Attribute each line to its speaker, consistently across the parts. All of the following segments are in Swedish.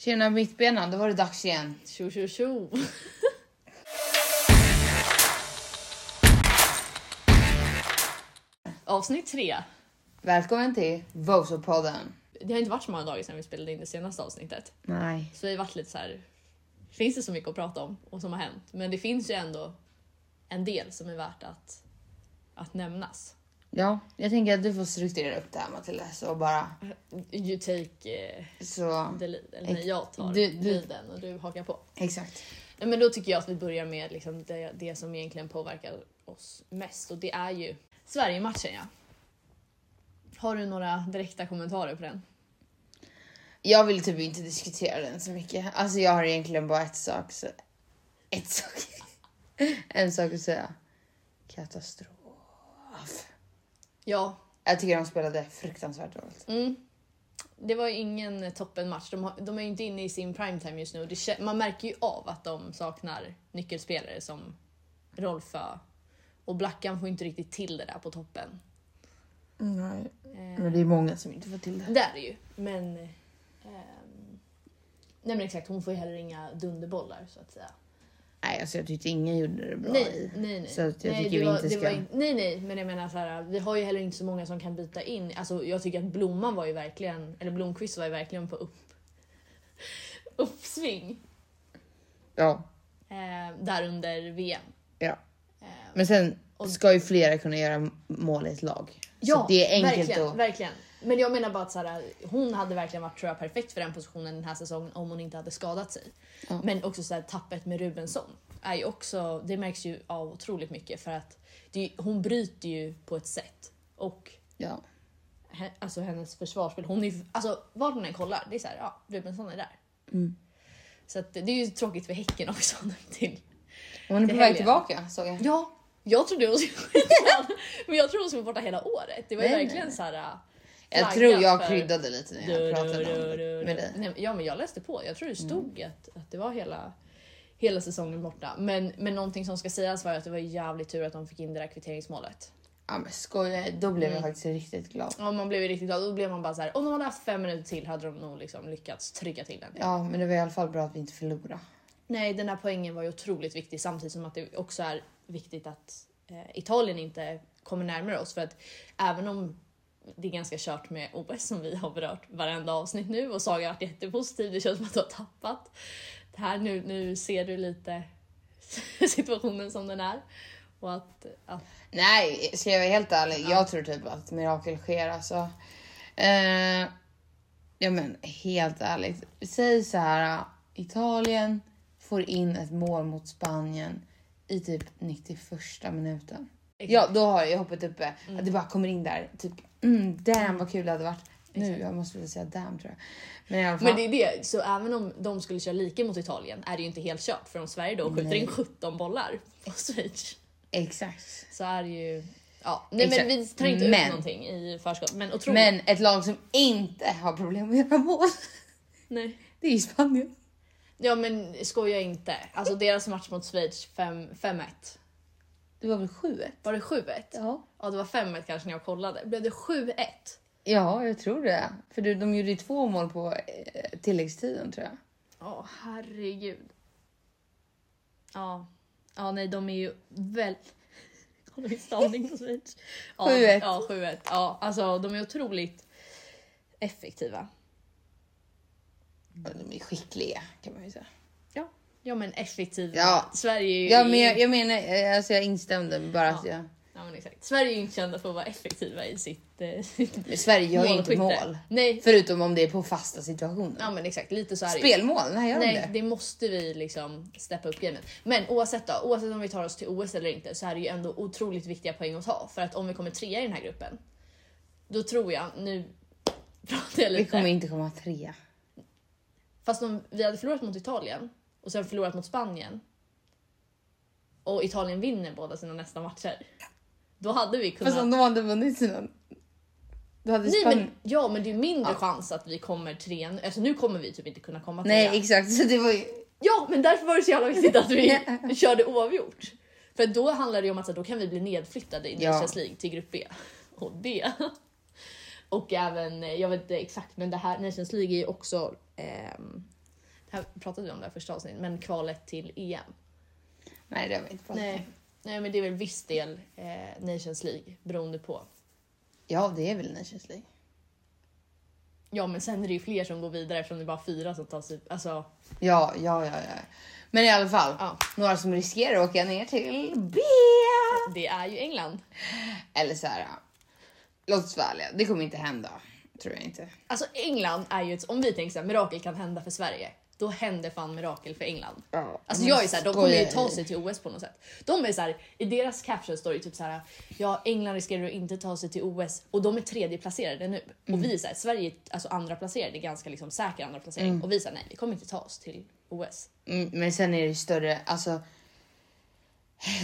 Speaker 1: Tjena mittbenan, då var det dags igen.
Speaker 2: Tjo tjo tjo. Avsnitt tre.
Speaker 1: Välkommen till Voso-podden.
Speaker 2: Det har inte varit så många dagar sedan vi spelade in det senaste avsnittet.
Speaker 1: Nej.
Speaker 2: Så vi har varit lite så här. Finns det så mycket att prata om och som har hänt? Men det finns ju ändå en del som är värt att, att nämnas.
Speaker 1: Ja, jag tänker att du får strukturera upp det här Matilda, så bara...
Speaker 2: You take eh,
Speaker 1: Så...
Speaker 2: the lead. Eller nej, jag tar
Speaker 1: Du- du-
Speaker 2: leaden och du hakar på.
Speaker 1: Exakt.
Speaker 2: Nej, men då tycker jag att vi börjar med liksom det, det som egentligen påverkar oss mest och det är ju Sverige-matchen. Ja. Har du några direkta kommentarer på den?
Speaker 1: Jag vill typ inte diskutera den så mycket. Alltså jag har egentligen bara ett sak... Så... Ett sak... en sak att säga. Katastrof.
Speaker 2: Ja,
Speaker 1: Jag tycker de spelade fruktansvärt dåligt.
Speaker 2: mm. det var ju ingen toppenmatch. De, har, de är ju inte inne i sin primetime just nu och det, kä- man märker ju av att de saknar nyckelspelare som Rolfö och Blackan får inte riktigt till det där på toppen.
Speaker 1: Nej.
Speaker 2: Eh,
Speaker 1: Men det är många som inte får till det.
Speaker 2: Det är det ju, men... ehm, nej men exakt, hon får ju heller inga dunderbollar så att säga.
Speaker 1: Nej, alltså jag tyckte ingen gjorde det bra
Speaker 2: Nej,
Speaker 1: i.
Speaker 2: nej, nej.
Speaker 1: Så att jag
Speaker 2: nej,
Speaker 1: tycker
Speaker 2: det
Speaker 1: vi
Speaker 2: var-
Speaker 1: inte
Speaker 2: det
Speaker 1: ska-
Speaker 2: var in- nej, nej, men jag menar så här, vi har ju heller inte så många som kan byta in. Alltså, jag tycker att Blomman var ju verkligen, eller Blomqvist var ju verkligen på upp, uppsving
Speaker 1: Ja,
Speaker 2: eh, där under VM.
Speaker 1: ja.
Speaker 2: Eh,
Speaker 1: Men sen ska ju flera kunna göra mål i ett lag. så det är enkelt
Speaker 2: verkligen,
Speaker 1: att...
Speaker 2: verkligen. Men jag menar bara att så här, hon hade verkligen varit tror jag, perfekt för den positionen den här säsongen om hon inte hade skadat sig.
Speaker 1: Ja.
Speaker 2: Men också så här, tappet med Rubensson är ju också, det märks ju av otroligt mycket för att det, är- hon bryter ju på ett sätt och
Speaker 1: Ja.
Speaker 2: he- alltså hennes försvarsspel. Hon är, ju- alltså, var hon än kollar, det är så här, ja, Rubensson är där.
Speaker 1: Mm.
Speaker 2: Så att, det det är ju tråkigt för Häcken också. nu Till.
Speaker 1: Hon är på
Speaker 2: Till
Speaker 1: väg
Speaker 2: helgen.
Speaker 1: tillbaka såg jag.
Speaker 2: Ja, jag trodde hon skulle skita men jag trodde hon skulle vara borta hela året. Det var ju
Speaker 1: Nej, nej,
Speaker 2: verkligen
Speaker 1: nej.
Speaker 2: så här. äh,
Speaker 1: Jag
Speaker 2: flaggat
Speaker 1: tror jag
Speaker 2: för-
Speaker 1: kryddade lite när jag pratade om det med dig. Mm.
Speaker 2: Nej, men- ja, men jag läste på. Jag tror det stod att, att det var hela, hela säsongen borta. Men, men någonting som ska sägas var att det var jävligt tur att de fick in det där kvitteringsmålet.
Speaker 1: Ja men skoja, då blev
Speaker 2: Mm.
Speaker 1: jag faktiskt riktigt glad.
Speaker 2: Ja, man blev ju riktigt glad. Då blev man bara så här, om de hade haft fem minuter till hade de nog liksom lyckats trycka till den.
Speaker 1: Ja men det var i alla fall bra att vi inte förlorade.
Speaker 2: Nej, den här poängen var ju otroligt viktig samtidigt som att det också är viktigt att eh, Italien inte kommer närmare oss för att även om det är ganska kört med OS som vi har berört varenda avsnitt nu och Saga har varit jättepositiv, det känns som att du har tappat det här nu, nu ser du lite situationen som den är och att, att
Speaker 1: Nej, ska jag vara helt ärlig, jag tror typ att mirakel sker alltså. Eh, ja men helt ärligt, säg så här. Italien får in ett mål mot Spanien i typ 91 minuten. Ja, då har jag hoppet uppe. Att det bara kommer in där. Typ, mm, damn vad kul det hade varit. Nu, jag måste väl säga damn tror jag. Men i alla fall.
Speaker 2: Men det är det, så även om de skulle köra lika mot Italien är det ju inte helt kört för om Sverige då skjuter in 17 bollar på Schweiz
Speaker 1: Exakt.
Speaker 2: så är det ju... Ja, nej,
Speaker 1: Exakt.
Speaker 2: men vi tar inte
Speaker 1: Men-
Speaker 2: ut någonting i förskott. Men otroligt.
Speaker 1: Men ett lag som inte har problem med att göra mål,
Speaker 2: Nej.
Speaker 1: det är ju Spanien.
Speaker 2: Ja men skoja inte. Alltså deras match mot Schweiz fem- 5-1.
Speaker 1: Det var väl 7-1?
Speaker 2: Var det 7-1?
Speaker 1: Ja.
Speaker 2: Ja det var 5-1 kanske när jag kollade. Blev det 7-1?
Speaker 1: Ja, jag tror det. För du, de gjorde ju två mål på eh, tilläggstiden tror jag.
Speaker 2: Ja herregud. Ja. Ja nej de är ju väl... Har de stavning på Schweiz? Ja,
Speaker 1: 7-1.
Speaker 2: Ja 7-1. Ja alltså de är otroligt effektiva.
Speaker 1: Ja, De är skickliga kan man ju säga.
Speaker 2: Ja. Ja men effektiva.
Speaker 1: Ja.
Speaker 2: Sverige är ju...
Speaker 1: Ja, men jag, jag menar, eh, alltså jag instämde men bara att jag...
Speaker 2: Ja, men exakt. Sverige är ju inte kända för att vara effektiva i sitt, eh, sitt
Speaker 1: Men Sverige gör ju inte
Speaker 2: målskytte.
Speaker 1: mål.
Speaker 2: Nej,
Speaker 1: Förutom om det är på fasta situationer.
Speaker 2: ja, men exakt. Lite så är det ju.
Speaker 1: Spelmål, nej gör de
Speaker 2: Nej,
Speaker 1: det?
Speaker 2: det måste vi liksom steppa upp gamet. Men oavsett då, oavsett om vi tar oss till OS eller inte så är det ju ändå otroligt viktiga poäng att ta. För att om vi kommer trea i den här gruppen, då tror jag, nu pratar jag
Speaker 1: Vi
Speaker 2: lite,
Speaker 1: kommer inte komma trea.
Speaker 2: fast om vi hade förlorat mot Italien och sen förlorat mot Spanien och Italien vinner båda sina nästa matcher, då hade vi kunnat...
Speaker 1: Fast om de hade vunnit sina... Då hade
Speaker 2: Nej,
Speaker 1: Spanien...
Speaker 2: men, ja men det är mindre chans att vi kommer tre nu. Alltså nu kommer vi typ inte kunna komma
Speaker 1: Nej,
Speaker 2: trea.
Speaker 1: exakt. Så det var ju...
Speaker 2: Ja men därför var det så jävla viktigt att vi körde oavgjort. För då handlar det ju om att så, här, då kan vi bli nedflyttade i
Speaker 1: Ja.
Speaker 2: Nations League till grupp B. Och det. Och även, eh, jag vet inte exakt men det här Nations League är ju också ehm, här pratade vi om det här första avsnittet, men kvalet till EM.
Speaker 1: Nej, det har vi inte pratat
Speaker 2: Nej.
Speaker 1: om.
Speaker 2: Nej, men det är väl viss del eh, Nations League beroende på.
Speaker 1: Ja, det är väl Nations League.
Speaker 2: Ja, men sen är det ju fler som går vidare eftersom det är bara fyra som tar sig... Alltså,
Speaker 1: Ja, ja, ja, ja. Men i alla fall,
Speaker 2: Ja.
Speaker 1: några som riskerar att åka ner till B.
Speaker 2: det är ju England.
Speaker 1: Eller så här, ja. låt oss vara ärliga, det kommer inte hända. Tror jag inte.
Speaker 2: Alltså England är ju ett... Om vi tänker så här, mirakel kan hända för Sverige. Då händer fan mirakel för England.
Speaker 1: Ja,
Speaker 2: Alltså
Speaker 1: men
Speaker 2: jag är såhär, de kommer ju
Speaker 1: skojar
Speaker 2: ta
Speaker 1: i.
Speaker 2: sig till OS på något sätt. De är såhär, i deras caption står det typ såhär, ja England riskerar att inte ta sig till OS och de är tredje placerade nu.
Speaker 1: Mm.
Speaker 2: Och vi är såhär, Sverige är alltså andra placerade, ganska liksom säker andra placering. Och vi säger nej vi kommer inte ta oss till OS.
Speaker 1: Mm, men sen är det ju större, alltså.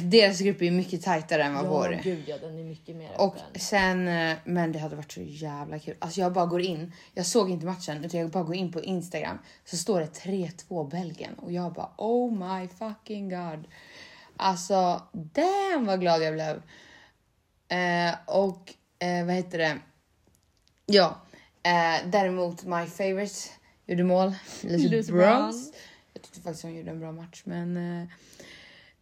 Speaker 1: Deras grupp är ju mycket tajtare än vad vår är.
Speaker 2: gud ja, den är mycket mer
Speaker 1: Och
Speaker 2: öppen.
Speaker 1: sen, eh, men det hade varit så jävla kul. Alltså jag bara går in, jag såg inte matchen utan jag bara går in på Instagram så står det 3-2 Belgien och jag bara oh my fucking god. Alltså damn vad glad jag blev. Eh, och eh, vad heter det? Ja, eh, däremot my favorite gjorde mål. Lucy
Speaker 2: Lucy
Speaker 1: Bronze.
Speaker 2: Bronze.
Speaker 1: Jag tyckte faktiskt hon gjorde en bra match men eh,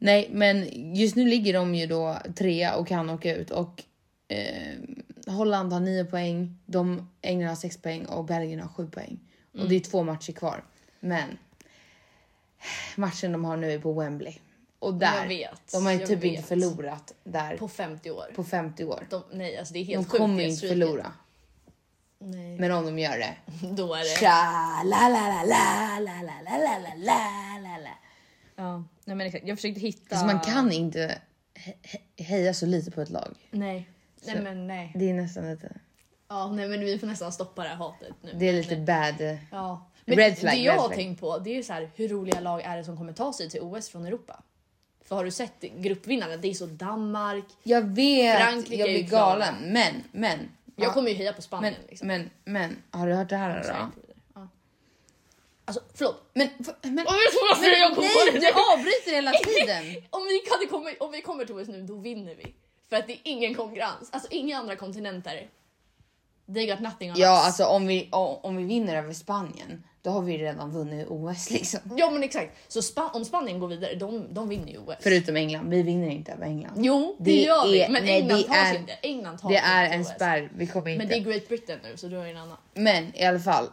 Speaker 1: Nej, men just nu ligger de ju då trea och kan åka ut och eh, Holland har nio poäng, de England har sex poäng och Belgien har sju poäng. Och det
Speaker 2: Mm.
Speaker 1: är två matcher kvar. Men matchen de har nu är på Wembley. Och där,
Speaker 2: Jag vet,
Speaker 1: de har ju
Speaker 2: jag
Speaker 1: typ inte
Speaker 2: vet.
Speaker 1: förlorat där på,
Speaker 2: På 50 år.
Speaker 1: 50 år.
Speaker 2: De, nej alltså det är
Speaker 1: De
Speaker 2: helt sjukt.
Speaker 1: kommer
Speaker 2: det
Speaker 1: ju inte
Speaker 2: streaket.
Speaker 1: förlora.
Speaker 2: Nej.
Speaker 1: Men om de gör det.
Speaker 2: Då är det...
Speaker 1: Tja, la, la, la, la, la, la, la, la, la, la, la, la.
Speaker 2: Ja, nej men exakt. Jag försökte hitta...
Speaker 1: Alltså man kan inte he- he- heja så lite på ett lag.
Speaker 2: Nej. Nej men nej.
Speaker 1: Det är nästan lite...
Speaker 2: Ja, nej men vi får nästan stoppa det här hatet nu.
Speaker 1: Det är lite bad.
Speaker 2: Ja.
Speaker 1: Red
Speaker 2: Men
Speaker 1: flag,
Speaker 2: det
Speaker 1: red
Speaker 2: jag har
Speaker 1: flag.
Speaker 2: tänkt på det är ju så här, hur roliga lag är det som kommer ta sig till OS från Europa? För har du sett gruppvinnarna? Det är så Danmark.
Speaker 1: Jag vet,
Speaker 2: Frankrike
Speaker 1: jag
Speaker 2: är ju
Speaker 1: blir galen. Men, men.
Speaker 2: Jag
Speaker 1: ja,
Speaker 2: kommer ju heja på Spanien.
Speaker 1: men,
Speaker 2: liksom.
Speaker 1: men, men, har du hört det här
Speaker 2: Så
Speaker 1: då?
Speaker 2: jag tror det. Ja. Alltså förlåt.
Speaker 1: Men, f- men,
Speaker 2: Om vi, får, men, jag kom
Speaker 1: nej,
Speaker 2: på det
Speaker 1: du
Speaker 2: nu.
Speaker 1: avbryter hela tiden.
Speaker 2: om, vi hade kommit, om vi kommer till OS nu då vinner vi. För att det är ingen konkurrens. Alltså inga andra kontinenter. They got nothing on
Speaker 1: Ja,
Speaker 2: us.
Speaker 1: alltså om vi, o- om vi vinner över Spanien, då har vi ju redan vunnit OS liksom.
Speaker 2: Ja men exakt. Så Spa- om Spanien går vidare, de, de vinner ju OS.
Speaker 1: Förutom England, vi vinner inte över England.
Speaker 2: Jo, det,
Speaker 1: Det
Speaker 2: gör vi.
Speaker 1: är-
Speaker 2: Men
Speaker 1: nej,
Speaker 2: England
Speaker 1: det
Speaker 2: tar sig
Speaker 1: är-
Speaker 2: inte. England tar
Speaker 1: Det
Speaker 2: sig
Speaker 1: är
Speaker 2: inte
Speaker 1: en
Speaker 2: OS.
Speaker 1: spärr, vi kommer inte.
Speaker 2: Men
Speaker 1: Men,
Speaker 2: det är Great Britain nu, så då är det en annan.
Speaker 1: i alla fall,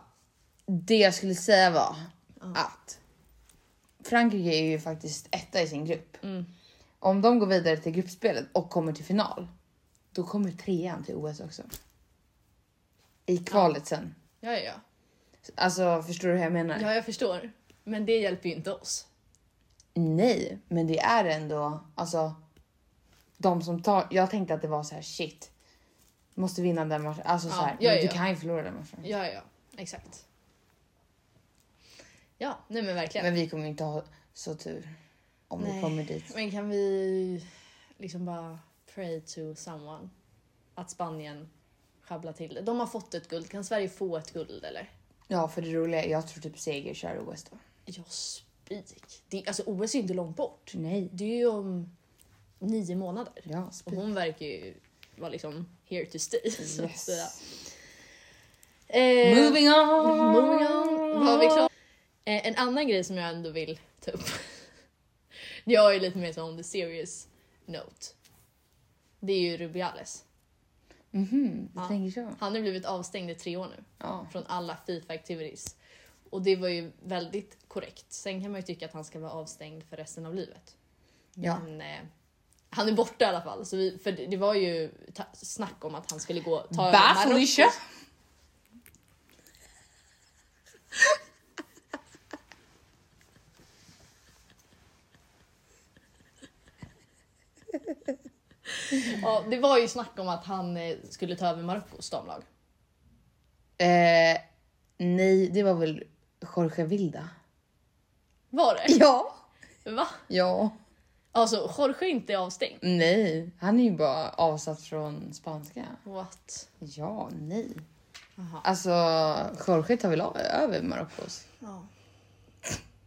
Speaker 1: det jag skulle säga var att Frankrike är ju faktiskt etta i sin grupp.
Speaker 2: Mm.
Speaker 1: Om de går vidare till gruppspelet och kommer till final, då kommer trean till OS också. I kvalet sen.
Speaker 2: Ja, ja, ja.
Speaker 1: Alltså förstår du hur jag menar?
Speaker 2: Ja, jag förstår. Men det hjälper ju inte oss.
Speaker 1: Nej, men det är ändå alltså. De som tar. Jag tänkte att det var så här shit. Måste vinna den matchen. Alltså så
Speaker 2: Ja,
Speaker 1: här.
Speaker 2: ja,
Speaker 1: men du
Speaker 2: ja.
Speaker 1: kan ju förlora den matchen.
Speaker 2: Ja, ja, ja. Exakt. Ja, nej men verkligen.
Speaker 1: Men vi kommer inte ha så tur om vi
Speaker 2: Nej.
Speaker 1: kommer dit.
Speaker 2: Men kan vi liksom bara pray to someone? Att Spanien sjabblar till det. De har fått ett guld. Kan Sverige få ett guld eller?
Speaker 1: Ja, för det roliga är jag tror typ seger kör OS då.
Speaker 2: Ja, spik. Det, alltså OS är ju inte långt bort.
Speaker 1: Nej.
Speaker 2: Det är ju om nio månader.
Speaker 1: Ja,
Speaker 2: Och
Speaker 1: spik.
Speaker 2: hon verkar ju vara liksom here to stay. så att
Speaker 1: Yes.
Speaker 2: säga. Eh,
Speaker 1: Moving on!
Speaker 2: moving on. Var vi klara? Eh, en annan grej som jag ändå vill ta upp. jag är lite mer så on the serious note. Det är ju Rubiales.
Speaker 1: Mhm, du
Speaker 2: Ja.
Speaker 1: tänker så.
Speaker 2: Han har blivit avstängd i tre år nu
Speaker 1: Ja.
Speaker 2: från alla Fifa activities. Och det var ju väldigt korrekt. Sen kan man ju tycka att han ska vara avstängd för resten av livet.
Speaker 1: Ja.
Speaker 2: Men, eh, han är borta i alla fall. Så vi, för det, det var ju ta- snack om att han skulle gå ta över
Speaker 1: Bye
Speaker 2: Marockos-
Speaker 1: Felicia!
Speaker 2: Ja, det var ju snack om att han eh, skulle ta över Marockos damlag.
Speaker 1: Eh, nej, det var väl Jorge Vilda?
Speaker 2: Var det?
Speaker 1: Ja.
Speaker 2: Va?
Speaker 1: Ja.
Speaker 2: Alltså Jorge är inte avstängd.
Speaker 1: Nej, han är ju bara avsatt från spanska.
Speaker 2: What?
Speaker 1: Ja, nej.
Speaker 2: Aha.
Speaker 1: Alltså, Jorge tar väl av- över Marockos?
Speaker 2: Ja.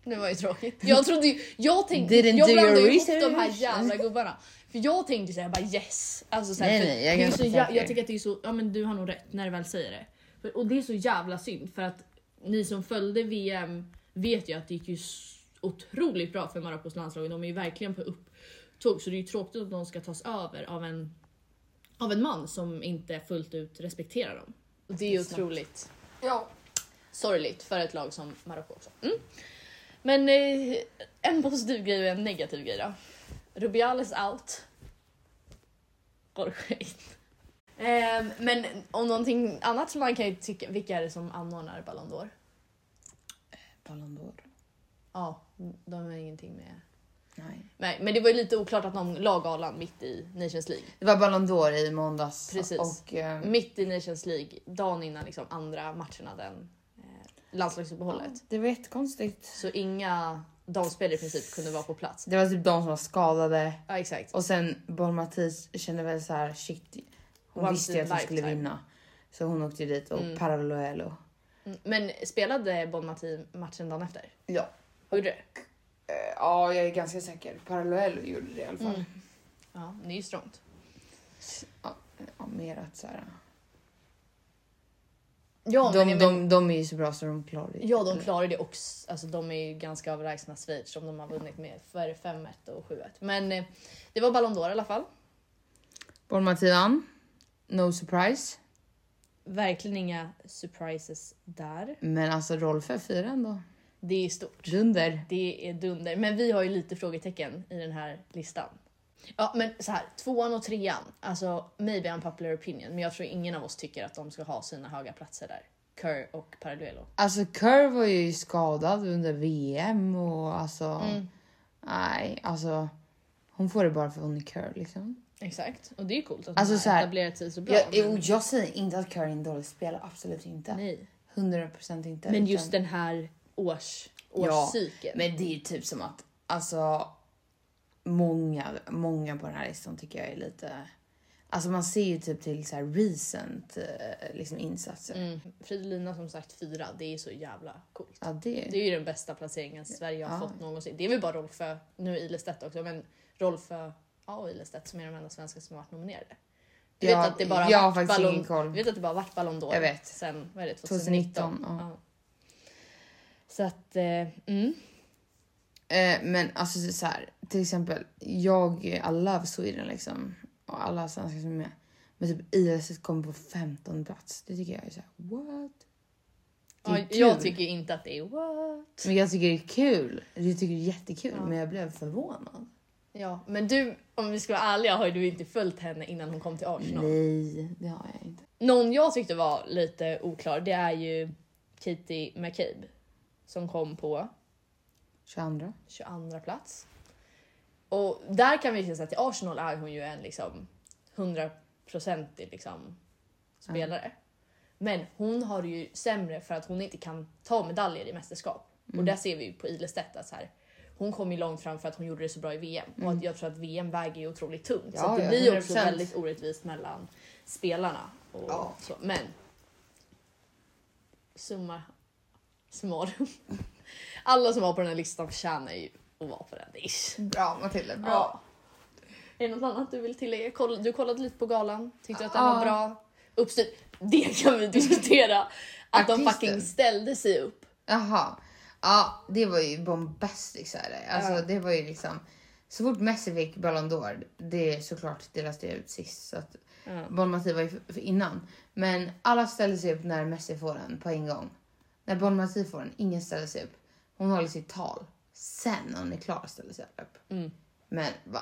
Speaker 2: Det var ju tråkigt. Jag trodde ju, jag tänkte,
Speaker 1: Didn't
Speaker 2: jag
Speaker 1: do
Speaker 2: blandade
Speaker 1: your
Speaker 2: ju ihop de här
Speaker 1: research.
Speaker 2: jävla gubbarna. För jag tänkte såhär, bara yes. Alltså såhär,
Speaker 1: Nej,
Speaker 2: för
Speaker 1: nej, jag är
Speaker 2: det är
Speaker 1: ganska
Speaker 2: så jä-
Speaker 1: säker.
Speaker 2: jag tycker att det är så, ja men du har nog rätt när du väl säger det. För, och det är så jävla synd för att ni som följde VM vet jag att det gick ju s- otroligt bra för Marockos landslag. De är ju verkligen på upptåg så det är ju tråkigt att de ska tas över av en, av en man som inte fullt ut respekterar dem. Och det är ju otroligt
Speaker 1: Ja.
Speaker 2: sorgligt för ett lag som Marocko också. Mm. Men eh, en positiv grej och en negativ grej då. Rubiales out. Jorge in. Ehm, men om någonting annat som man kan ju tycka, vilka är det som anordnar Ballon d'Or?
Speaker 1: Ballon d'Or.
Speaker 2: Ja, de har ingenting med...
Speaker 1: Nej.
Speaker 2: Nej, men det var ju lite oklart att de la galan mitt i Nations League.
Speaker 1: Det var Ballon d'Or i måndags.
Speaker 2: Precis.
Speaker 1: Och, eh,
Speaker 2: Mitt i Nations League, dagen innan liksom andra matcherna den eh, landslagsuppehållet.
Speaker 1: det var jättekonstigt.
Speaker 2: Så inga damspelare i princip kunde vara på plats.
Speaker 1: Det var typ de som var skadade.
Speaker 2: Ja, exakt.
Speaker 1: Och sen Bon Matisse kände väl så här shit. Hon
Speaker 2: Once
Speaker 1: visste ju
Speaker 2: in
Speaker 1: att
Speaker 2: a
Speaker 1: hon skulle
Speaker 2: lifetime.
Speaker 1: vinna. Så hon åkte ju dit och
Speaker 2: Mm.
Speaker 1: Paraloelo.
Speaker 2: Mm, Men spelade Bon Mati matchen dagen efter?
Speaker 1: Ja.
Speaker 2: Gjorde det?
Speaker 1: Eh, Ja, jag är ganska säker. Paraloelo gjorde det i alla fall.
Speaker 2: Mm. Ja, det är ju strongt.
Speaker 1: Ja, mer att så här.
Speaker 2: Ja,
Speaker 1: de,
Speaker 2: men,
Speaker 1: de, de är ju så bra så de klarar det.
Speaker 2: ja, de klarade det också. Alltså, de är ju ganska överlägsna Schweiz som de har vunnit med för 5-1 och 7-1. Men eh, det var Ballon d'Or i alla fall.
Speaker 1: Bon Matisse vann. No surprise.
Speaker 2: Verkligen inga surprises där.
Speaker 1: Men alltså Rolfö firar ändå.
Speaker 2: Det är stort.
Speaker 1: Dunder.
Speaker 2: Det är dunder. Men vi har ju lite frågetecken i den här listan. Ja, men så här, tvåan och trean. Alltså, maybe unpopular opinion, men jag tror ingen av oss tycker att de ska ha sina höga platser där. Kerr och Parallelo.
Speaker 1: Alltså Kerr var ju skadad under VM och alltså...
Speaker 2: Mm.
Speaker 1: Nej, alltså... Hon får det bara för att hon är Kerr liksom.
Speaker 2: Exakt, och det är ju coolt att
Speaker 1: Alltså,
Speaker 2: de
Speaker 1: så
Speaker 2: har
Speaker 1: här,
Speaker 2: etablerat sig så bra.
Speaker 1: Jag, jo,
Speaker 2: men,
Speaker 1: jag säger inte att Kerr är en dålig spelare, absolut inte.
Speaker 2: nej.
Speaker 1: 100% inte.
Speaker 2: men
Speaker 1: utan-
Speaker 2: just den här års,
Speaker 1: Ja,
Speaker 2: årscykeln.
Speaker 1: Men det är ju typ som att alltså många, många på den här listan tycker jag är lite... Alltså man ser ju typ till så här recent eh, liksom insatser.
Speaker 2: Mm. Fridolina som sagt fyra, det är så jävla coolt.
Speaker 1: Ja, det,
Speaker 2: Det är ju den bästa placeringen Sverige har
Speaker 1: Ja.
Speaker 2: fått någonsin. Det är väl bara Rolfö, nu är Ilestedt också, men Rolfö ja, och Ilestedt som är de enda svenskar som har varit nominerade. Du
Speaker 1: Ja,
Speaker 2: vet att det bara har
Speaker 1: jag har
Speaker 2: varit
Speaker 1: faktiskt
Speaker 2: Ballon-
Speaker 1: ingen koll.
Speaker 2: Du vet att det bara har varit Ballon d'Or
Speaker 1: Jag vet.
Speaker 2: sen vad är det, 2019.
Speaker 1: 2019,
Speaker 2: Ja. Så att, eh, mm.
Speaker 1: Eh, men alltså så här, till exempel, jag, I love Sweden liksom. Och alla svenskar som är med. Men typ IS kommer på 15 plats. Det tycker jag är så här, what? Det är
Speaker 2: ja, jag
Speaker 1: kul.
Speaker 2: tycker inte att det är what.
Speaker 1: Men jag tycker det är kul. Jag tycker det är jättekul,
Speaker 2: Ja.
Speaker 1: men jag blev förvånad.
Speaker 2: Ja, men du, om vi ska vara ärliga, har ju du inte följt henne innan hon kom till Arsenal. Mm.
Speaker 1: Nej, det har jag inte.
Speaker 2: Någon jag tyckte var lite oklar, det är ju Katie McCabe som kom på
Speaker 1: 22.
Speaker 2: 22 plats. Och där kan vi ju säga att i Arsenal är hon ju en liksom 100-procentig liksom spelare. Men hon har det ju sämre för att hon inte kan ta medaljer i mästerskap.
Speaker 1: Mm.
Speaker 2: Och där ser vi ju på Ilestedt att så här, hon kom ju långt fram för att hon gjorde det så bra i VM. Och att jag tror att VM väger ju otroligt tungt.
Speaker 1: Mm.
Speaker 2: så
Speaker 1: Ja,
Speaker 2: att det
Speaker 1: ja,
Speaker 2: blir ju också
Speaker 1: 100%.
Speaker 2: väldigt orättvist mellan spelarna. Och
Speaker 1: Ja.
Speaker 2: så. Men summa summarum. Alla som var på den här listan förtjänar ju att vara på den. Ish.
Speaker 1: Bra Matilda,
Speaker 2: Ja. Är det något annat du vill tillägga? Koll- Du kollade lite på galan, tyckte att den
Speaker 1: Ja.
Speaker 2: var bra uppstyrd. Det kan vi diskutera. Att de
Speaker 1: Artister.
Speaker 2: fucking ställde sig upp.
Speaker 1: Jaha. Ja, det var ju bombastiskt. så här. Alltså,
Speaker 2: Ja.
Speaker 1: det var ju liksom... Så fort Messi fick Ballon d'Or, det är såklart delades det ut sist. Så att
Speaker 2: Ja.
Speaker 1: Bon Mati var ju f- f- innan. Men alla ställde sig upp när Messi får den på en gång. När Bon Mati får den, ingen ställer sig upp. Hon håller sitt tal. Sen när hon är klar ställer sig alla upp.
Speaker 2: Mm.
Speaker 1: Men va?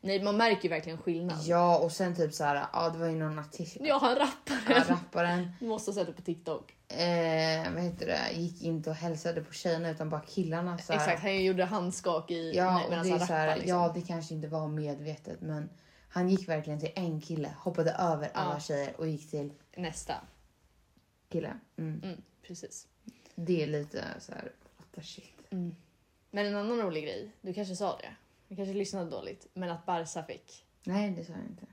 Speaker 2: Nej, man märker ju verkligen skillnad.
Speaker 1: Ja, och sen typ så här, ja det var ju någon artist,
Speaker 2: Jag har en rappare.
Speaker 1: ja, rapparen.
Speaker 2: Måste sätta på TikTok.
Speaker 1: eh, vad heter det, gick inte och hälsade på tjejerna utan bara killarna. Så här.
Speaker 2: Exakt, han gjorde handskak i
Speaker 1: Ja, och
Speaker 2: medan
Speaker 1: det är
Speaker 2: han
Speaker 1: så här,
Speaker 2: rappade. Liksom.
Speaker 1: ja, det kanske inte var medvetet, men han gick verkligen till en kille, hoppade över alla tjejer och gick till
Speaker 2: Nästa.
Speaker 1: kille. Mm.
Speaker 2: Mm, precis.
Speaker 1: Det är lite så här, what the shit.
Speaker 2: Mm. Men en annan rolig grej, du kanske sa det, du kanske lyssnade dåligt, men att Barca fick,
Speaker 1: Nej, det sa jag inte.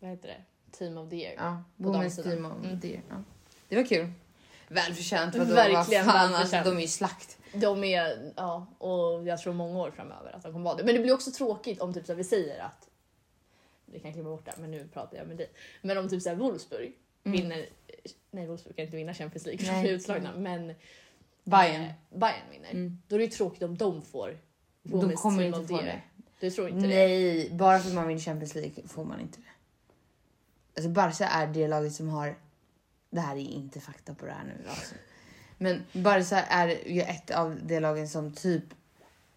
Speaker 2: vad heter det, Team of the Year.
Speaker 1: Ja,
Speaker 2: På
Speaker 1: Women's
Speaker 2: damsidan.
Speaker 1: team om det. Ja. Mm. Det var kul. Välförtjänt. Vadå,
Speaker 2: Verkligen
Speaker 1: vad fan,
Speaker 2: välförtjänt.
Speaker 1: Alltså, de är ju slakt.
Speaker 2: De är, ja, och jag tror många år framöver att de kommer vara det. Men det blir också tråkigt om typ så här, vi säger att, vi kan klippa bort det här, men nu pratar jag med dig. Men om typ
Speaker 1: Mm.
Speaker 2: så här, Wolfsburg vinner, nej Wolfsburg kan inte vinna Champions League för de är
Speaker 1: Nej.
Speaker 2: utslagna, men
Speaker 1: Bayern. Mm.
Speaker 2: eh, Bayern vinner. Då är det ju tråkigt om de får
Speaker 1: De
Speaker 2: Women's
Speaker 1: kommer
Speaker 2: Team
Speaker 1: inte
Speaker 2: of the
Speaker 1: få
Speaker 2: Year.
Speaker 1: det.
Speaker 2: Du tror inte det?
Speaker 1: Nej, bara för att man vinner Champions League får man inte det. Alltså Barca är det laget som har... Det här är inte fakta på det här nu. Alltså. Men Barca är ju ett av de lagen som typ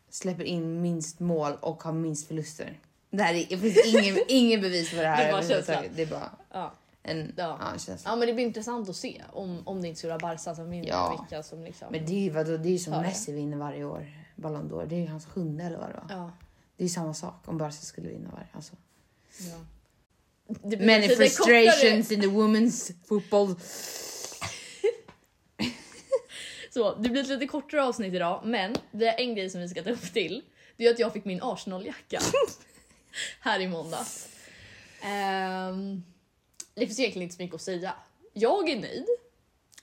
Speaker 1: släpper in minst mål och har minst förluster. Det här är, det finns ingen, ingen bevis för det här.
Speaker 2: Det är bara
Speaker 1: överhuvudtaget.
Speaker 2: känslan.
Speaker 1: Det är bara
Speaker 2: Ja.
Speaker 1: en ja.
Speaker 2: Ja.
Speaker 1: känsla.
Speaker 2: ja men det blir intressant att se om, om det inte skulle vara Barca som vinner.
Speaker 1: Ja.
Speaker 2: Vilka som liksom...
Speaker 1: Men det är ju, vadå, det är ju som
Speaker 2: Ja, ja.
Speaker 1: Messi vinner varje år. Ballon d'Or. Det är ju hans sjunde eller vad det var.
Speaker 2: ja.
Speaker 1: Det är ju samma sak om Barca skulle vinna varje. Alltså.
Speaker 2: Ja. Det blir
Speaker 1: Many
Speaker 2: lite kortare-
Speaker 1: frustrations in the women's football.
Speaker 2: Så, det blir ett lite kortare avsnitt idag, men det är en grej som vi ska ta upp till. Det är att jag fick min Arsenal-jacka här i måndags. Ehm, det finns egentligen inte så mycket att säga. Jag är nöjd,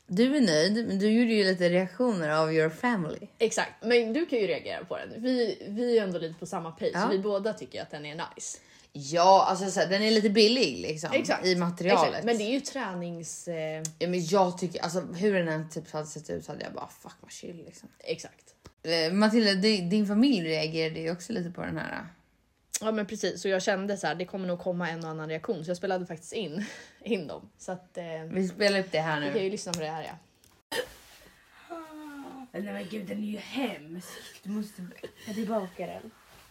Speaker 1: Du är nöjd, men du gjorde ju lite reaktioner av your family.
Speaker 2: exakt. Men du kan ju reagera på den. Vi, vi är ändå lite på samma page,
Speaker 1: Ja.
Speaker 2: så vi båda tycker att den är nice.
Speaker 1: Ja, alltså så här, den är lite billig liksom
Speaker 2: Exakt.
Speaker 1: i materialet.
Speaker 2: Exakt, Men det är ju tränings... Eh,
Speaker 1: ja, men jag tycker alltså hur den än typ hade sett ut så hade jag bara fuck vad chill liksom.
Speaker 2: exakt.
Speaker 1: Eh, Matilda, di- din familj reagerade ju också lite på den här. eh.
Speaker 2: Ja men precis, så jag kände så här, det kommer nog komma en och annan reaktion så jag spelade faktiskt in, in dem. Så att... Eh,
Speaker 1: Vi spelar upp det här
Speaker 2: vi kan
Speaker 1: nu.
Speaker 2: ju lyssna på det här ja.
Speaker 3: Nej men gud den är ju hemsk. Du måste ta tillbaka den.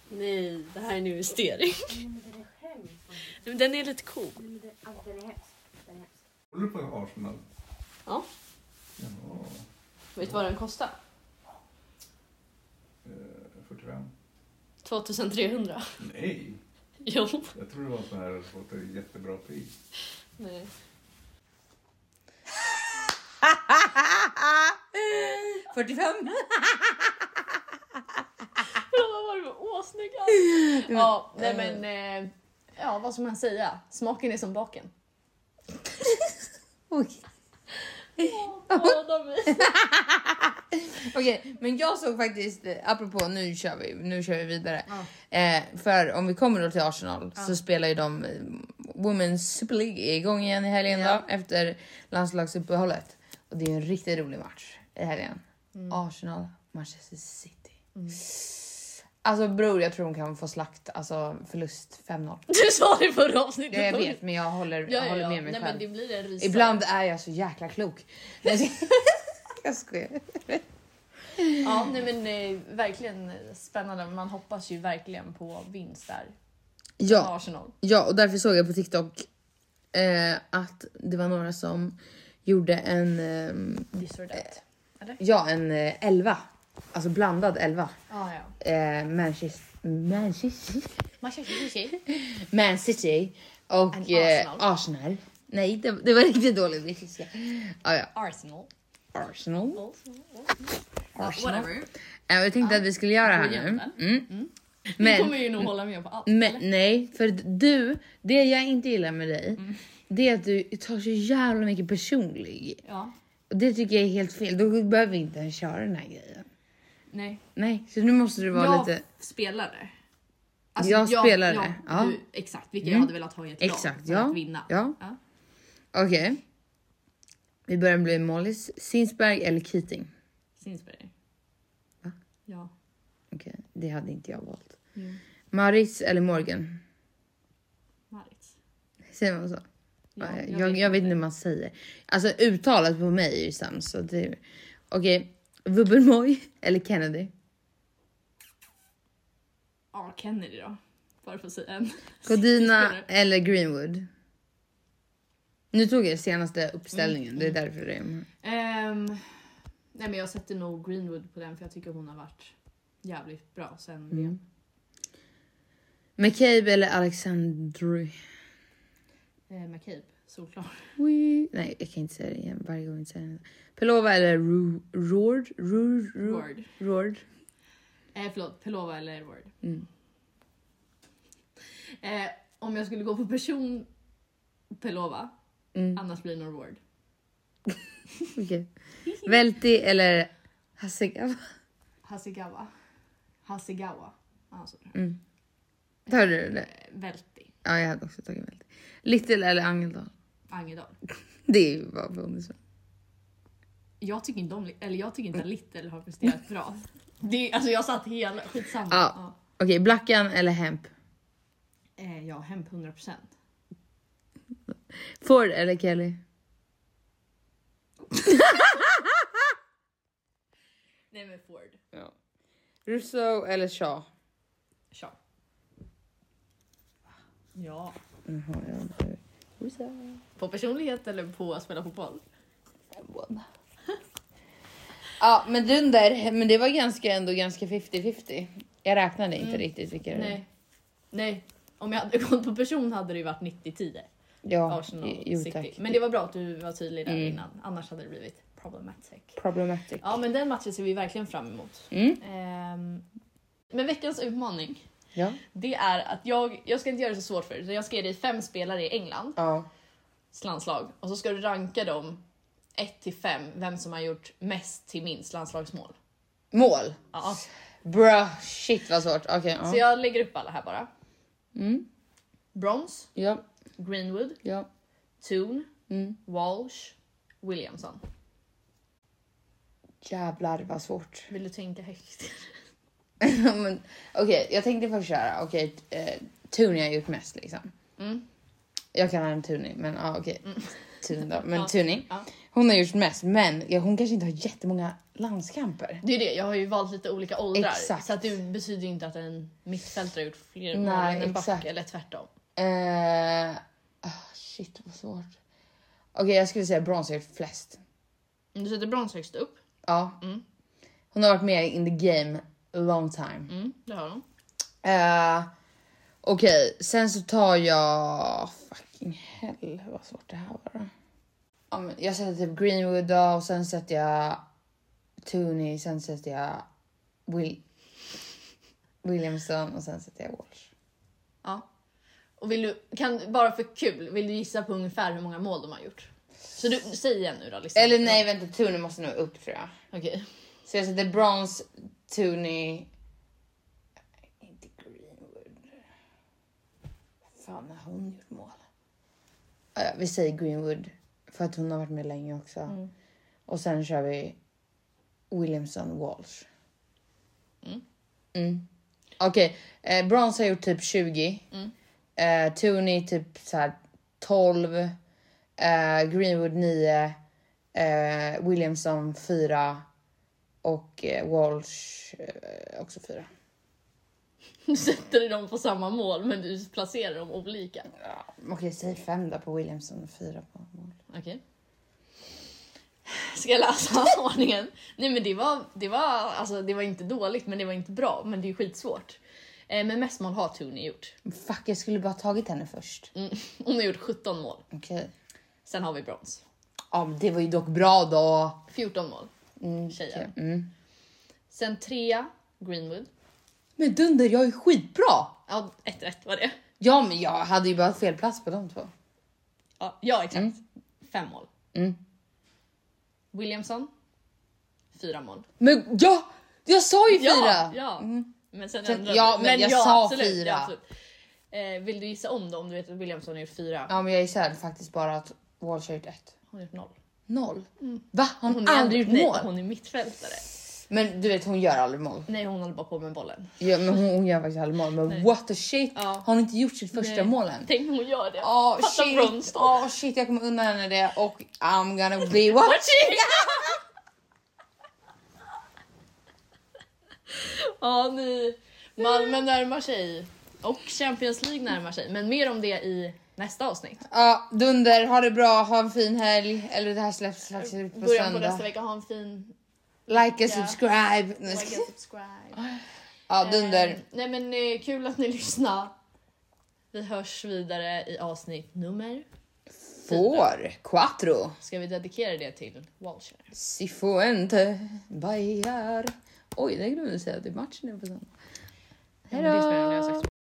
Speaker 2: Nej, det här är en investering. Men den är lite cool.
Speaker 3: Den är hemsk. Den är hemsk.
Speaker 4: Håller du på Arsenal?
Speaker 2: Ja.
Speaker 4: Ja,
Speaker 2: Vet du vad den kostar?
Speaker 4: eh, 45.
Speaker 2: 2300.
Speaker 4: Nej,
Speaker 2: Jo.
Speaker 4: jag tror det var så här fått ett jättebra pris.
Speaker 2: Nej.
Speaker 1: Eh, 45.
Speaker 2: Vad var det för åsnygga? Ja, nej men... eh, Ja, vad ska man säga? Smaken är som baken.
Speaker 1: Oj.
Speaker 2: Båda mig.
Speaker 1: Okej, men jag såg faktiskt, eh, apropå nu kör vi, nu kör vi vidare. Eh, för om vi kommer då till Arsenal så spelar ju de eh, Women's Super League igång igen i helgen
Speaker 2: Ja.
Speaker 1: då, efter landslagsuppehållet. Och det är ju en riktigt rolig match i helgen.
Speaker 2: Mm.
Speaker 1: Arsenal, Manchester City. Alltså bror, jag tror de kan få slakt, alltså förlust 5-0.
Speaker 2: Du sa det förra
Speaker 1: Ja,
Speaker 2: avsnittet.
Speaker 1: jag vet, men jag håller,
Speaker 2: Ja,
Speaker 1: jag
Speaker 2: ja,
Speaker 1: håller
Speaker 2: ja.
Speaker 1: med mig
Speaker 2: nej,
Speaker 1: själv.
Speaker 2: men det blir en rysare.
Speaker 1: Ibland är jag så jäkla klok. jag skojar.
Speaker 2: Ja, nej men eh, verkligen spännande. Man hoppas ju verkligen på vinst där.
Speaker 1: Ja,
Speaker 2: Arsenal.
Speaker 1: Ja, och därför såg jag på TikTok eh, att det var några som gjorde en, eh,
Speaker 2: This or that. Eller?
Speaker 1: ja, en eh, elva. Alltså blandad elva.
Speaker 2: Ah, ja,
Speaker 1: Eh, Manchester, Manchester,
Speaker 2: ja.
Speaker 1: Man City och
Speaker 2: And
Speaker 1: eh,
Speaker 2: Arsenal.
Speaker 1: Arsenal. Nej, det, det var riktigt dåligt brittiska. Ah, ja.
Speaker 2: Arsenal.
Speaker 1: Arsenal. Arsenal.
Speaker 2: Whatever.
Speaker 1: Eh, och jag tänkte att vi skulle göra det här nu. Mm.
Speaker 2: Du
Speaker 1: Men
Speaker 2: kommer ju nog hålla med på allt.
Speaker 1: Men, nej, för du, det jag inte gillar med dig,
Speaker 2: Mm.
Speaker 1: det är att du tar så jävla mycket personlig.
Speaker 2: Ja.
Speaker 1: Och det tycker jag är helt fel. Då behöver vi inte ens köra den här grejen.
Speaker 2: Nej.
Speaker 1: Nej, så nu måste du vara
Speaker 2: jag
Speaker 1: lite... Alltså,
Speaker 2: spelare.
Speaker 1: Jag spelare, ja. Mm.
Speaker 2: Du, exakt, vilka jag hade velat ha i ett
Speaker 1: Exakt,
Speaker 2: lag för
Speaker 1: ja.
Speaker 2: att vinna.
Speaker 1: Ja.
Speaker 2: Ja.
Speaker 1: Okej. Vi börjar med Mollis, Sinsberg eller Keating.
Speaker 2: Sinsberg.
Speaker 1: Va?
Speaker 2: Ja.
Speaker 1: Okej, det hade inte jag valt.
Speaker 2: Jo.
Speaker 1: Maris eller Morgan?
Speaker 2: Marit.
Speaker 1: Säger man så?
Speaker 2: Ja,
Speaker 1: jag,
Speaker 2: jag
Speaker 1: jag,
Speaker 2: vet
Speaker 1: vet inte hur man säger. Alltså uttalet på mig är ju sämst. så det- Okej, Vubbenmoj eller Kennedy?
Speaker 2: Ja, Kennedy då. Bara för att säga en.
Speaker 1: Codina
Speaker 2: Spelare.
Speaker 1: eller Greenwood? Nu tog jag den senaste uppställningen, det är
Speaker 2: Mm.
Speaker 1: därför det är med.
Speaker 2: Ehm, nej men jag sätter nog Greenwood på den för jag tycker hon har varit jävligt bra sen VM.
Speaker 1: McCabe Mm. eller Alexandru?
Speaker 2: Eh, McCabe, solklar.
Speaker 1: Oui. Nej, jag kan inte säga det igen. Varje gång jag säger det. Pelova eller Ru- Rord? Ru- Ru-
Speaker 2: Word.
Speaker 1: Rord?
Speaker 2: Eh, förlåt, Pelova eller Edward.
Speaker 1: Mm.
Speaker 2: Eh, om jag skulle gå på person Pelova,
Speaker 1: Mm.
Speaker 2: annars blir det nog Ward.
Speaker 1: Okej. Velti eller Hasegawa?
Speaker 2: Hasegawa. Hasegawa. Alltså,
Speaker 1: Tar Mm. du det?
Speaker 2: eh, Välti.
Speaker 1: Ja, jag hade också tagit Velti. Little eller Angeldal?
Speaker 2: Angedal.
Speaker 1: Det är ju bara bonus.
Speaker 2: Jag tycker inte om, eller jag tycker inte att Little har presterat bra. Det, alltså jag satt hela, skitsamma.
Speaker 1: Ja. Okej, Blackan eller Hemp?
Speaker 2: Ja, eh, ja Hemp 100%.
Speaker 1: Ford eller Kelly?
Speaker 2: Nej men Ford.
Speaker 1: Russo eller Shaw?
Speaker 2: Tja. Ja.
Speaker 1: Mm,
Speaker 2: På personlighet eller på att spela fotboll?
Speaker 1: Ja, men Dunder, men det var ganska ändå ganska 50-50. Jag räknade inte riktigt vilka det var.
Speaker 2: Mm. Nej. Nej. Om jag hade gått på person hade det ju varit 90-10.
Speaker 1: Ja,
Speaker 2: Arsenal
Speaker 1: jo
Speaker 2: City.
Speaker 1: tack.
Speaker 2: Men det var bra att du var tydlig där
Speaker 1: Mm.
Speaker 2: innan. Annars hade det blivit problematic.
Speaker 1: Problematic.
Speaker 2: Ja men den matchen ser vi verkligen fram emot.
Speaker 1: Mm.
Speaker 2: Ehm, men veckans utmaning.
Speaker 1: Ja.
Speaker 2: Det är att jag, jag ska inte göra det så svårt för dig. utan Jag ska ge dig fem spelare i England.
Speaker 1: Ja.
Speaker 2: landslag och så ska du ranka dem 1 till 5 vem som har gjort mest till minst landslagsmål.
Speaker 1: Mål.
Speaker 2: Ja.
Speaker 1: Bra, shit vad svårt. Okej, ja.
Speaker 2: Så jag lägger upp alla här bara.
Speaker 1: Mm.
Speaker 2: Brons,
Speaker 1: ja,
Speaker 2: Greenwood,
Speaker 1: ja.
Speaker 2: Toon,
Speaker 1: Mm.
Speaker 2: Walsh, Williamson.
Speaker 1: Jävlar vad svårt.
Speaker 2: Vill du tänka högt?
Speaker 1: Men, Okej, jag tänkte först köra. Okej, eh, Tuni har gjort mest liksom.
Speaker 2: Mm.
Speaker 1: Jag kallar henne Tuni, men ja okej. Tuni då. Men
Speaker 2: Ja,
Speaker 1: Tuni.
Speaker 2: ja.
Speaker 1: Hon har gjort mest, men ja, hon kanske inte har jättemånga landskamper.
Speaker 2: Det är ju det, jag har ju valt lite olika åldrar.
Speaker 1: Exakt.
Speaker 2: Så att det betyder ju inte att en mittfältare har gjort fler mål
Speaker 1: Nej,
Speaker 2: än en back
Speaker 1: exakt.
Speaker 2: eller tvärtom.
Speaker 1: Eh, ah, shit vad svårt. Okej, jag skulle säga brons har gjort flest.
Speaker 2: Om Du sätter brons högst upp.
Speaker 1: Ja.
Speaker 2: Mm.
Speaker 1: Hon har varit med in the game a long time.
Speaker 2: Mm, det har de.
Speaker 1: Eh, Okej, sen så tar jag... Fucking hell, vad svårt det här var. då. Ja, men jag sätter typ Greenwood då, och sen sätter jag Tooney, sen sätter jag Will... Williamson och sen sätter jag Walsh.
Speaker 2: Ja. Och vill du, kan, bara för kul, vill du gissa på ungefär hur många mål de har gjort? Så du, säg igen nu då. Liksom.
Speaker 1: Eller nej, vänta, Tooney måste nog upp tror jag.
Speaker 2: Okej.
Speaker 1: Så jag sätter Brons, Tooney... Inte Greenwood. Fan, har hon gjort mål? Ja, ja, vi säger Greenwood, för att hon har varit med länge också. Och sen kör vi Williamson Walsh. Mm. Okej, eh, Brons har gjort typ 20. Mm. Eh, Tooney typ så här 12. Eh, Greenwood 9. Eh, Williamson 4. Och eh, Walsh eh, också 4.
Speaker 2: Nu sätter du dem på samma mål men du placerar dem olika.
Speaker 1: Ja, okej, säg 5 då på Williamson och 4 på mål.
Speaker 2: Okej. Ska jag läsa ordningen? Nej men det var, det, var, alltså, det var inte dåligt men det var inte bra. Men det är skitsvårt. Eh, men mest mål har Tony gjort.
Speaker 1: Men Fuck, jag skulle bara tagit henne först.
Speaker 2: Mm. Hon har gjort 17 mål.
Speaker 1: Okej.
Speaker 2: Sen har vi brons.
Speaker 1: Ja, men det var ju dock bra då.
Speaker 2: 14 mål.
Speaker 1: Mm,
Speaker 2: Tjejer.
Speaker 1: okej. Mm.
Speaker 2: Sen trea, Greenwood.
Speaker 1: Men Dunder, jag är skitbra!
Speaker 2: Ja, ett rätt var det.
Speaker 1: Ja, men jag hade ju bara fel plats på de två.
Speaker 2: Ja, ja exakt. Fem mål.
Speaker 1: Mm.
Speaker 2: Williamson. Fyra mål.
Speaker 1: Men ja, jag sa ju
Speaker 2: Ja,
Speaker 1: fyra!
Speaker 2: ja. Men Mm. sen
Speaker 1: Så-
Speaker 2: ändrade
Speaker 1: ja,
Speaker 2: du.
Speaker 1: men jag sa
Speaker 2: absolut,
Speaker 1: fyra.
Speaker 2: ja, absolut. Eh, vill du gissa om då om du vet att Williamson har gjort fyra?
Speaker 1: Ja, men jag gissade faktiskt bara att Walsh har gjort ett.
Speaker 2: Hon har gjort noll.
Speaker 1: Noll? Va? Har Mm. hon,
Speaker 2: är-
Speaker 1: aldrig gjort
Speaker 2: nej,
Speaker 1: mål?
Speaker 2: Hon är mittfältare.
Speaker 1: Men du vet, hon gör aldrig mål.
Speaker 2: Nej, hon håller bara på med bollen.
Speaker 1: Ja, men hon, hon gör faktiskt aldrig mål. Men
Speaker 2: Nej.
Speaker 1: what the shit?
Speaker 2: Ja.
Speaker 1: Har hon inte gjort sitt första
Speaker 2: Nej.
Speaker 1: mål än?
Speaker 2: Tänk om hon gör det.
Speaker 1: Åh
Speaker 2: Fatta brons
Speaker 1: Ah, shit,
Speaker 2: då.
Speaker 1: Åh shit, jag kommer unna henne det och I'm gonna be watching!
Speaker 2: Ja, ni. Malmö närmar sig och Champions League närmar sig. Men mer om det i nästa avsnitt.
Speaker 1: Ja, Dunder, ha det bra, ha en fin helg. Eller det här släpps faktiskt på
Speaker 2: Början på
Speaker 1: söndag.
Speaker 2: nästa vecka. Ha en fin
Speaker 1: Like and
Speaker 2: Ja.
Speaker 1: subscribe. Nej,
Speaker 2: like and subscribe.
Speaker 1: Ja, Dunder.
Speaker 2: Eh, nej men eh, kul att ni lyssnade. Vi hörs vidare i avsnitt nummer.
Speaker 1: Får. Quattro.
Speaker 2: Ska vi dedikera det till Walsher?
Speaker 1: Si fuente. Bayar. Oj, det glömde jag säga. Det är matchen är på söndag.
Speaker 2: Ja, men det spelar ingen roll, jag har sagt så.